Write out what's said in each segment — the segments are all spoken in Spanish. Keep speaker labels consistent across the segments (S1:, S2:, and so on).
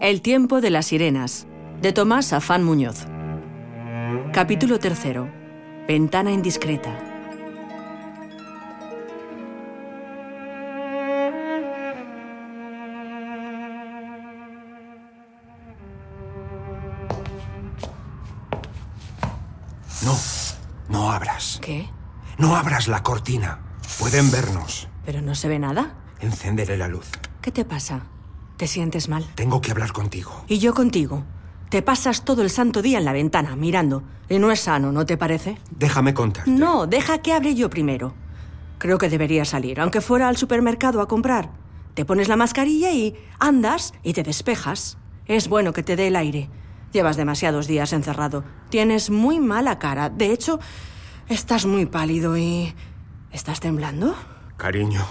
S1: El tiempo de las sirenas, de Tomás Afán Muñoz. Capítulo tercero. Ventana indiscreta.
S2: No, no abras.
S1: ¿Qué?
S2: No abras la cortina. Pueden vernos.
S1: ¿Pero no se ve nada?
S2: Encenderé la luz.
S1: ¿Qué te pasa? ¿Te sientes mal?
S2: Tengo que hablar contigo.
S1: Y yo contigo. Te pasas todo el santo día en la ventana, mirando. Y no es sano, ¿no te parece?
S2: Déjame contarte.
S1: No, deja que hable yo primero. Creo que debería salir, aunque fuera al supermercado a comprar. Te pones la mascarilla y andas y te despejas. Es bueno que te dé el aire. Llevas demasiados días encerrado. Tienes muy mala cara. De hecho, estás muy pálido y... ¿Estás temblando?
S2: Cariño,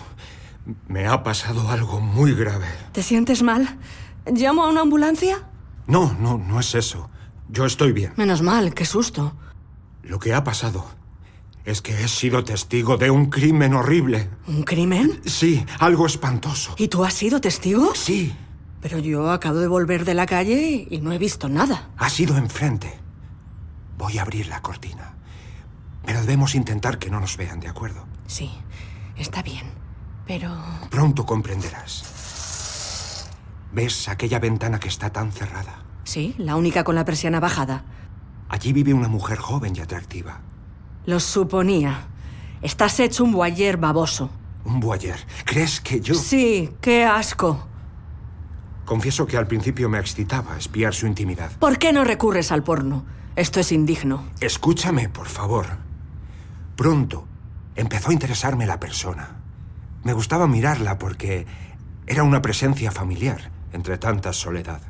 S2: me ha pasado algo muy grave.
S1: ¿Te sientes mal? ¿Llamo a una ambulancia?
S2: No, no, no es eso. Yo estoy bien.
S1: Menos mal, qué susto.
S2: Lo que ha pasado es que he sido testigo de un crimen horrible.
S1: ¿Un crimen?
S2: Sí, algo espantoso.
S1: ¿Y tú has sido testigo?
S2: Sí,
S1: Pero yo acabo de volver de la calle y no he visto nada.
S2: ha sido enfrente. Voy a abrir la cortina. Pero debemos intentar que no nos vean, ¿de acuerdo?
S1: Sí, está bien. Pero...
S2: Pronto comprenderás. ¿Ves aquella ventana que está tan cerrada?
S1: Sí, la única con la persiana bajada.
S2: Allí vive una mujer joven y atractiva.
S1: Lo suponía. Estás hecho un boyer baboso.
S2: Un boyer. ¿Crees que yo...?
S1: Sí, qué asco.
S2: Confieso que al principio me excitaba espiar su intimidad.
S1: ¿Por qué no recurres al porno? Esto es indigno.
S2: Escúchame, por favor. Pronto empezó a interesarme la persona. Me gustaba mirarla porque era una presencia familiar entre tanta soledad.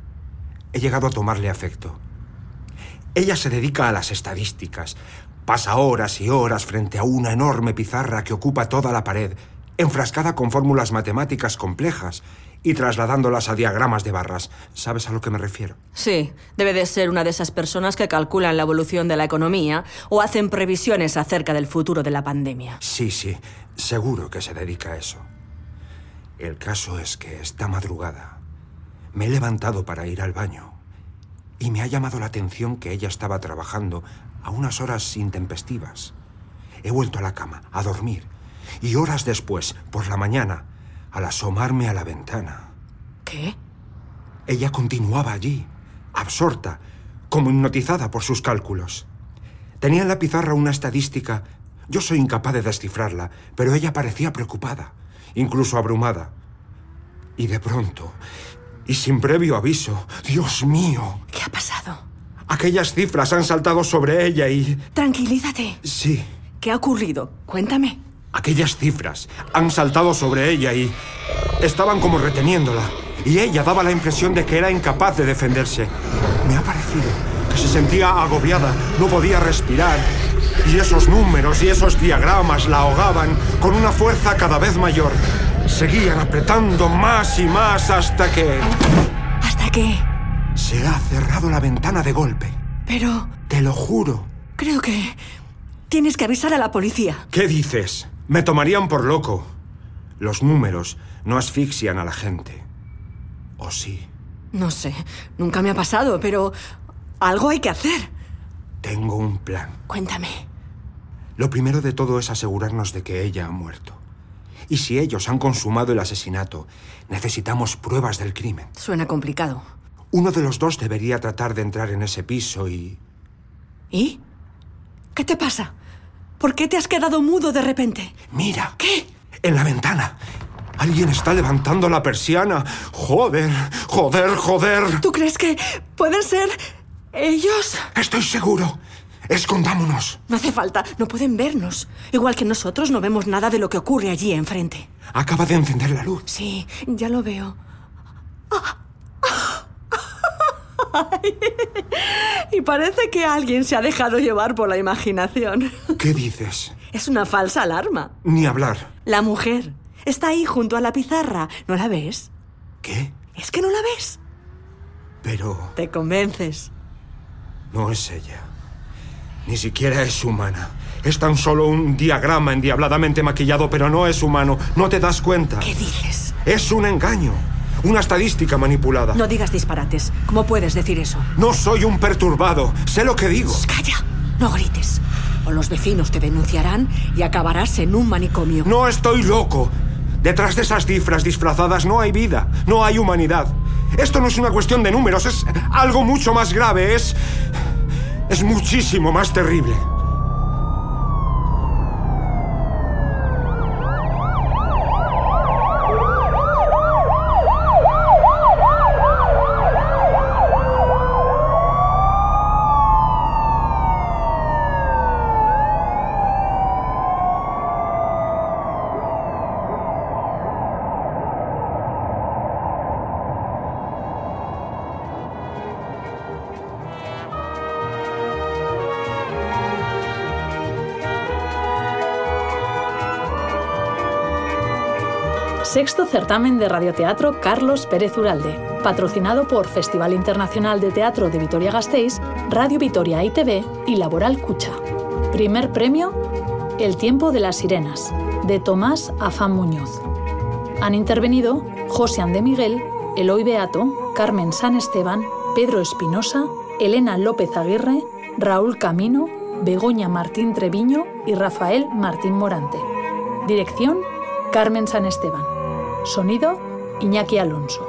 S2: He llegado a tomarle afecto. Ella se dedica a las estadísticas. Pasa horas y horas frente a una enorme pizarra que ocupa toda la pared, enfrascada con fórmulas matemáticas complejas y trasladándolas a diagramas de barras. ¿Sabes a lo que me refiero?
S1: Sí, debe de ser una de esas personas que calculan la evolución de la economía o hacen previsiones acerca del futuro de la pandemia.
S2: Sí, sí, seguro que se dedica a eso. El caso es que esta madrugada me he levantado para ir al baño y me ha llamado la atención que ella estaba trabajando a unas horas intempestivas. He vuelto a la cama, a dormir, y horas después, por la mañana, al asomarme a la ventana,
S1: ¿Qué?
S2: ella continuaba allí, absorta, como hipnotizada por sus cálculos. Tenía en la pizarra una estadística. Yo soy incapaz de descifrarla, pero ella parecía preocupada, incluso abrumada. Y de pronto, y sin previo aviso, Dios mío,
S1: ¿Qué ha pasado?
S2: aquellas cifras han saltado sobre ella y...
S1: Tranquilízate.
S2: Sí,
S1: ¿Qué ha ocurrido? Cuéntame.
S2: aquellas cifras han saltado sobre ella y... Estaban como reteniéndola. Y ella daba la impresión de que era incapaz de defenderse. Me ha parecido que se sentía agobiada, no podía respirar. Y esos números y esos diagramas la ahogaban con una fuerza cada vez mayor. Seguían apretando más y más hasta que...
S1: ¿Hasta qué?
S2: Se ha cerrado la ventana de golpe.
S1: Pero
S2: Te lo juro.
S1: creo que tienes que avisar a la policía.
S2: ¿Qué dices? Me tomarían por loco. Los números no asfixian a la gente. ¿O sí?
S1: No sé, nunca me ha pasado, pero algo hay que hacer.
S2: Tengo un plan.
S1: Cuéntame.
S2: Lo primero de todo es asegurarnos de que ella ha muerto. Y si ellos han consumado el asesinato, necesitamos pruebas del crimen.
S1: Suena complicado.
S2: Uno de los dos debería tratar de entrar en ese piso y...
S1: ¿Y? ¿Qué te pasa? ¿Por qué te has quedado mudo de repente?
S2: Mira.
S1: ¿Qué?
S2: En la ventana. Alguien está levantando la persiana. Joder, joder, joder.
S1: ¿Tú crees que pueden ser ellos?
S2: Estoy seguro. Escondámonos.
S1: No hace falta, no pueden vernos. Igual que nosotros no vemos nada de lo que ocurre allí enfrente.
S2: Acaba de encender la luz.
S1: Sí, ya lo veo. Y parece que alguien se ha dejado llevar por la imaginación.
S2: ¿Qué dices?
S1: Es una falsa alarma.
S2: Ni hablar.
S1: La mujer está ahí junto a la pizarra. ¿No la ves?
S2: ¿Qué?
S1: Es que no la ves.
S2: Pero
S1: Te convences.
S2: no es ella. Ni siquiera es humana. Es tan solo un diagrama endiabladamente maquillado, pero no es humano. ¿No te das cuenta?
S1: ¿Qué dices?
S2: Es un engaño. Una estadística manipulada.
S1: No digas disparates. ¿Cómo puedes decir eso?
S2: No soy un perturbado. Sé lo que digo.
S1: Shh, ¡Calla! No grites. O los vecinos te denunciarán y acabarás en un manicomio.
S2: No estoy loco. Detrás de esas cifras disfrazadas no hay vida, no hay humanidad. Esto no es una cuestión de números, es algo mucho más grave, es... es muchísimo más terrible.
S3: Sexto certamen de radioteatro Carlos Pérez Uralde, patrocinado por Festival Internacional de Teatro de Vitoria-Gasteiz, Radio Vitoria ITV y Laboral Cucha. Primer premio, El tiempo de las sirenas, de Tomás Afán Muñoz. Han intervenido José Andé Miguel, Eloy Beato, Carmen San Esteban, Pedro Espinosa, Elena López Aguirre, Raúl Camino, Begoña Martín Treviño y Rafael Martín Morante. Dirección, Carmen San Esteban. Sonido, Iñaki Alonso.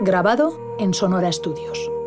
S3: Grabado en Sonora Estudios.